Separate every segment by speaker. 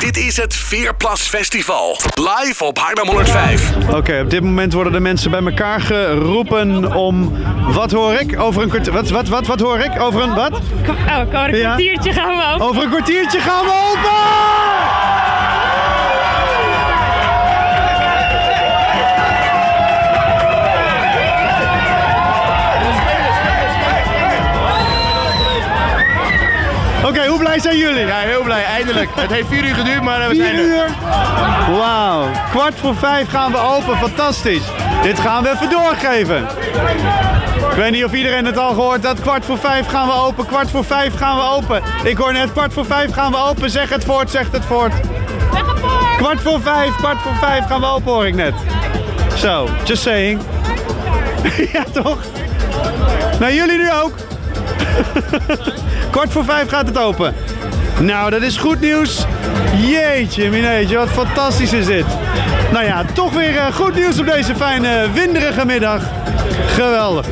Speaker 1: Dit is het Veerplas Festival. Live op Haarlem 105.
Speaker 2: Oké, op dit moment worden de mensen bij elkaar geroepen om... Wat hoor ik over een kwartier... Wat, wat, wat, wat hoor ik over een... Wat?
Speaker 3: Kom- Oh, over een
Speaker 2: Ja.
Speaker 3: kwartiertje gaan we op.
Speaker 2: Over een kwartiertje gaan we open! Oké, hoe blij zijn jullie?
Speaker 4: Ja, heel blij, eindelijk. Het heeft vier uur geduurd, maar eh, we
Speaker 2: Vier
Speaker 4: zijn er.
Speaker 2: uur. Wauw. Kwart voor vijf gaan we open. Fantastisch. Dit gaan we even doorgeven. Ik weet niet of iedereen het al gehoord had. Kwart voor vijf gaan we open. Kwart voor vijf gaan we open. Ik hoor net kwart voor vijf gaan we open. Zeg het voort, zeg het voort. Kwart voor vijf, kwart voor vijf gaan we open hoor ik net. Zo, just saying. ja toch? Nou jullie nu ook. Kwart voor vijf gaat het open. Nou, dat is goed nieuws. Jeetje, mineetje, wat fantastisch is dit. Nou ja, toch weer eh, goed nieuws op deze fijne, winderige middag. Geweldig.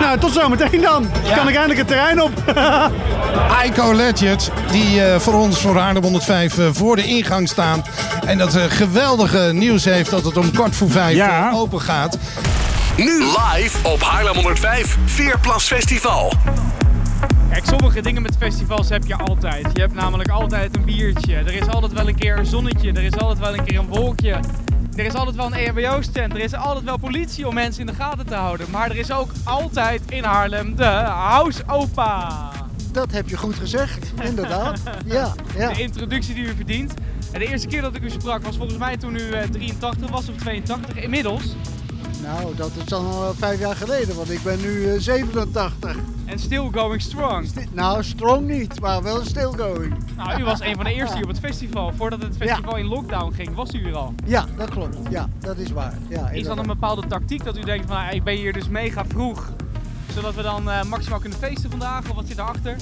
Speaker 2: Nou, tot zometeen dan. Kan ik eindelijk het terrein op?
Speaker 5: Ico Legends, die eh, voor ons, voor Haarlem 105, eh, voor de ingang staan. En dat eh, geweldige nieuws heeft dat het om kwart voor vijf
Speaker 6: Ja.
Speaker 5: eh, open gaat.
Speaker 1: Nu live op Haarlem 105. Veerplas Festival.
Speaker 7: Kijk, sommige dingen met festivals heb je altijd. Je hebt namelijk altijd een biertje. Er is altijd wel een keer een zonnetje. Er is altijd wel een keer een wolkje. Er is altijd wel een EHBO-stand. Er is altijd wel politie om mensen in de gaten te houden. Maar er is ook altijd in Haarlem de House Opa.
Speaker 8: Dat heb je goed gezegd, inderdaad. Ja, ja.
Speaker 7: De introductie die u verdient. En de eerste keer dat ik u sprak was volgens mij toen u eh, 83 was of 82. Inmiddels.
Speaker 8: Nou, dat is dan al eh, vijf jaar geleden, want ik ben nu eh, 87.
Speaker 7: En still going strong.
Speaker 8: Sti- Nou, strong niet, maar wel still going.
Speaker 7: Nou, u was een van de eerste hier op het festival. Voordat het festival in lockdown ging, was u er al.
Speaker 8: Ja, dat klopt. Ja, dat is waar. Ja,
Speaker 7: Is dat een
Speaker 8: inderdaad.
Speaker 7: bepaalde tactiek dat u denkt van nou, ik ben hier dus mega vroeg, zodat we dan eh, maximaal kunnen feesten vandaag of wat zit erachter?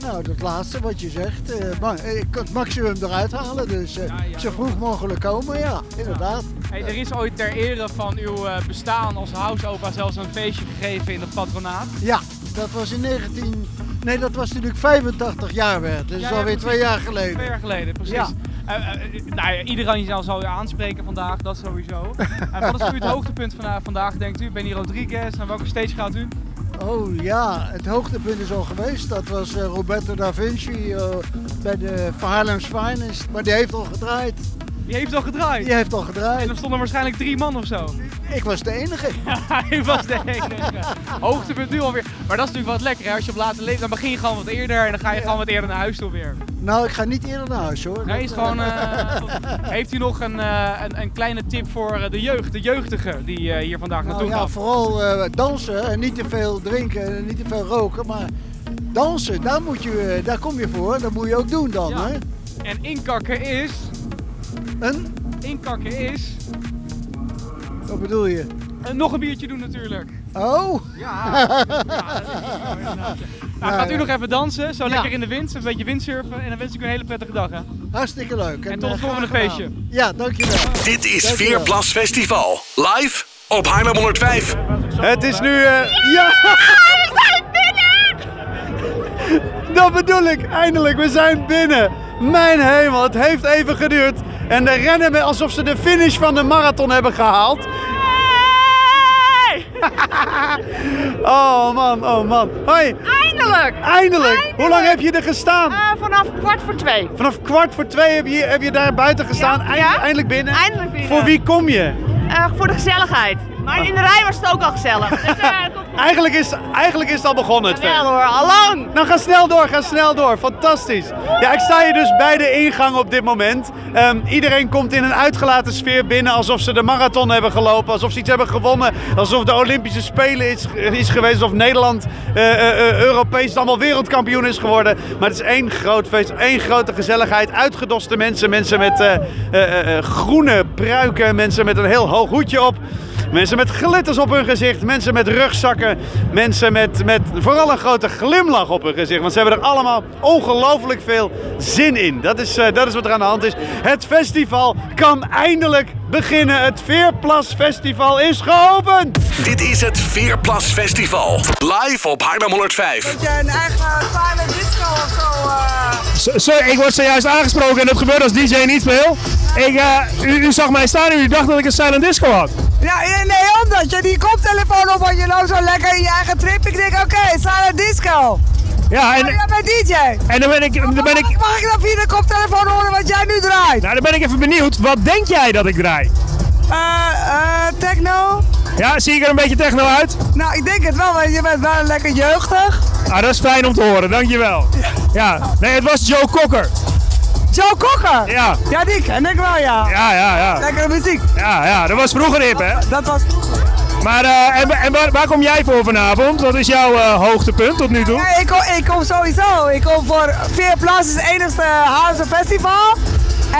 Speaker 8: Nou, dat laatste wat je zegt. eh, ma- eh, ik kan het maximum eruit halen, dus eh,
Speaker 7: Ja, ja.
Speaker 8: zo vroeg mogelijk komen, ja, inderdaad.
Speaker 7: Hey, er is ooit ter ere van uw eh, bestaan als houseopa zelfs een feestje gegeven in het patronaat.
Speaker 8: Ja, dat was in 19... Nee, dat was toen ik 85 jaar werd, dus
Speaker 7: Ja, ja,
Speaker 8: alweer
Speaker 7: precies.
Speaker 8: twee jaar
Speaker 7: Twee
Speaker 8: geleden.
Speaker 7: jaar geleden, precies.
Speaker 8: Ja.
Speaker 7: Eh, eh, eh, nou ja, iedereen zal- zal u aanspreken vandaag, dat sowieso. En wat is voor u het hoogtepunt van eh, vandaag, denkt u? Benny Rodriguez, naar welke stage gaat u?
Speaker 8: Oh ja, het hoogtepunt is al geweest. Dat was eh, Roberto da Vinci eh, bij de Haarlem's Finest, maar die heeft al gedraaid.
Speaker 7: Die heeft al gedraaid.
Speaker 8: Die heeft al
Speaker 7: En
Speaker 8: gedraaid.
Speaker 7: er stonden waarschijnlijk drie man of zo.
Speaker 8: Ik was de enige.
Speaker 7: Hij was de enige. Hoogtepunt nu alweer. Maar dat is natuurlijk wat lekker. Hè? Als je op later leeft, dan begin je gewoon wat eerder en dan ga je gewoon wat eerder naar huis toe weer.
Speaker 8: Nou, ik ga niet eerder naar huis hoor.
Speaker 7: Nee, is
Speaker 8: Dat,
Speaker 7: gewoon,
Speaker 8: eh,
Speaker 7: eh, heeft u nog een, eh, een, een kleine tip voor eh, de jeugd, de jeugdige die eh, hier vandaag
Speaker 8: nou
Speaker 7: naartoe
Speaker 8: ja,
Speaker 7: gaat?
Speaker 8: vooral eh, dansen en niet te veel drinken en niet te veel roken. Maar dansen, daar, moet je, eh, daar kom je voor. Dat moet je ook doen dan.
Speaker 7: Ja.
Speaker 8: Hè?
Speaker 7: En inkakken is,
Speaker 8: En?
Speaker 7: inkakken is,
Speaker 8: Wat bedoel je?
Speaker 7: eh, nog een biertje doen natuurlijk.
Speaker 8: Oh,
Speaker 7: Ja, ja, dat is zo, inderdaad. nou, gaat u
Speaker 8: ja.
Speaker 7: nog even dansen, zo
Speaker 8: Ja.
Speaker 7: lekker in de wind, een beetje windsurfen en dan wens ik u een hele prettige dag. Hè?
Speaker 8: hartstikke leuk.
Speaker 7: En tot het
Speaker 8: eh,
Speaker 7: volgende
Speaker 8: graag
Speaker 7: feestje.
Speaker 8: gedaan. Ja, dankjewel.
Speaker 1: Dit is
Speaker 8: Dankjewel.
Speaker 1: Veerplas Festival. Live op Haarlem 105.
Speaker 2: Het is nu... eh, Ja! Dat bedoel ik, eindelijk, we zijn binnen. Mijn hemel, het heeft even geduurd. En de rennen met- alsof ze de finish van de marathon hebben gehaald. Oh man, oh man. Hoi,
Speaker 3: Eindelijk!
Speaker 2: eindelijk. Hoe lang heb je er gestaan?
Speaker 3: Eh, vanaf kwart voor twee.
Speaker 2: Vanaf kwart voor twee heb je, heb je daar buiten gestaan.
Speaker 3: Ja,
Speaker 2: Eind-
Speaker 3: ja.
Speaker 2: Eindelijk binnen.
Speaker 3: Eindelijk binnen.
Speaker 2: Voor wie kom je?
Speaker 3: Eh, voor de gezelligheid. Maar in de rij was het ook al gezellig. Dus, eh, het komt goed.
Speaker 2: Eigenlijk is, eigenlijk is het al begonnen het
Speaker 3: Jawel
Speaker 2: feest.
Speaker 3: hoor, allang!
Speaker 2: Nou, ga snel door, ga snel door. Fantastisch. Ja, ik sta hier dus bij de ingang op dit moment. Ehm, iedereen komt in een uitgelaten sfeer binnen alsof ze de marathon hebben gelopen. Alsof ze iets hebben gewonnen. Alsof de Olympische Spelen is, is geweest. Of Nederland eh, eh, eh, Europees allemaal wereldkampioen is geworden. Maar het is één groot feest, één grote gezelligheid. Uitgedoste mensen, mensen met eh, eh, eh, eh, groene pruiken. Mensen met een heel hoog hoedje op. Mensen met glitters op hun gezicht, mensen met rugzakken, mensen met, met vooral een grote glimlach op hun gezicht. Want ze hebben er allemaal ongelooflijk veel zin in. Dat is, eh, dat is wat er aan de hand is. Het festival kan eindelijk beginnen. Het Veerplas Festival is geopend!
Speaker 1: Dit is het Veerplas Festival. Live op Haarlem 105.
Speaker 6: je een eigen silent disco of zo.
Speaker 4: ik word zojuist aangesproken en dat gebeurt als DJ niet veel. Ik, eh, u, zag mij staan en u dacht dat ik een silent disco had.
Speaker 6: Ja, eh, nee, omdat je die koptelefoon op had, je loopt zo lekker in je eigen trip. Ik denk, oké, silent disco.
Speaker 4: Ja,
Speaker 6: En jij bent DJ.
Speaker 4: en dan ben ik... Dan ben ik
Speaker 6: Mag ik dan via de koptelefoon horen wat jij nu draait?
Speaker 4: nou, dan ben ik even benieuwd. Wat denk jij dat ik draai?
Speaker 6: Eh, eh, techno?
Speaker 4: Ja, zie ik er een beetje techno uit?
Speaker 6: Nou, ik denk het wel, want je bent wel lekker jeugdig.
Speaker 4: Ah, dat is fijn om te horen, dankjewel. Ja, nee, het was Joe Cocker.
Speaker 6: Joe Cocker.
Speaker 4: Ja,
Speaker 6: Ja, die ken ik wel, ja.
Speaker 4: ja, ja, ja.
Speaker 6: Lekkere muziek.
Speaker 4: Ja, ja, dat was vroeger hip, hè?
Speaker 6: Dat was vroeger.
Speaker 4: Maar eh, en, en waar, waar kom jij voor vanavond? Wat is jouw eh, hoogtepunt tot nu toe?
Speaker 6: Ja, ik, kom, ik kom sowieso. Ik kom voor Vier Plaats, is het enigste house festival.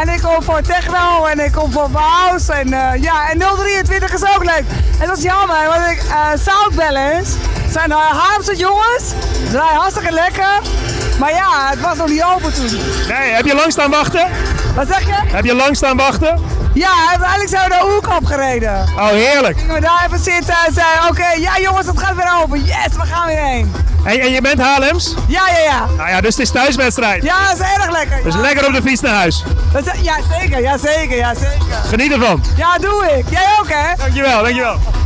Speaker 6: En ik kom voor techno en ik kom voor house. En eh, ja, en 023 is ook leuk. En dat is jammer, want ik, eh Sound Balance zijn uh, Haarlemse jongens. Ze zijn hartstikke lekker. Maar ja, het was nog niet open toen.
Speaker 4: Nee, heb je lang staan wachten?
Speaker 6: Wat zeg je?
Speaker 4: Heb je lang staan wachten?
Speaker 6: Ja, uiteindelijk zijn we de hoek opgereden.
Speaker 4: Oh, heerlijk.
Speaker 6: Gingen we daar even zitten en zeiden, oké, ja jongens, het gaat weer open. Yes, we gaan weer heen.
Speaker 4: En, en je bent Haarlems?
Speaker 6: Ja, ja, ja.
Speaker 4: Nou ja, dus het is thuiswedstrijd.
Speaker 6: Ja, dat is erg lekker.
Speaker 4: Dus
Speaker 6: Ja.
Speaker 4: lekker op de fiets naar huis.
Speaker 6: Dat is- Ja, zeker, ja, zeker, ja, zeker.
Speaker 4: Geniet ervan.
Speaker 6: Ja, doe ik. Jij ook, hè?
Speaker 4: Dankjewel, dankjewel.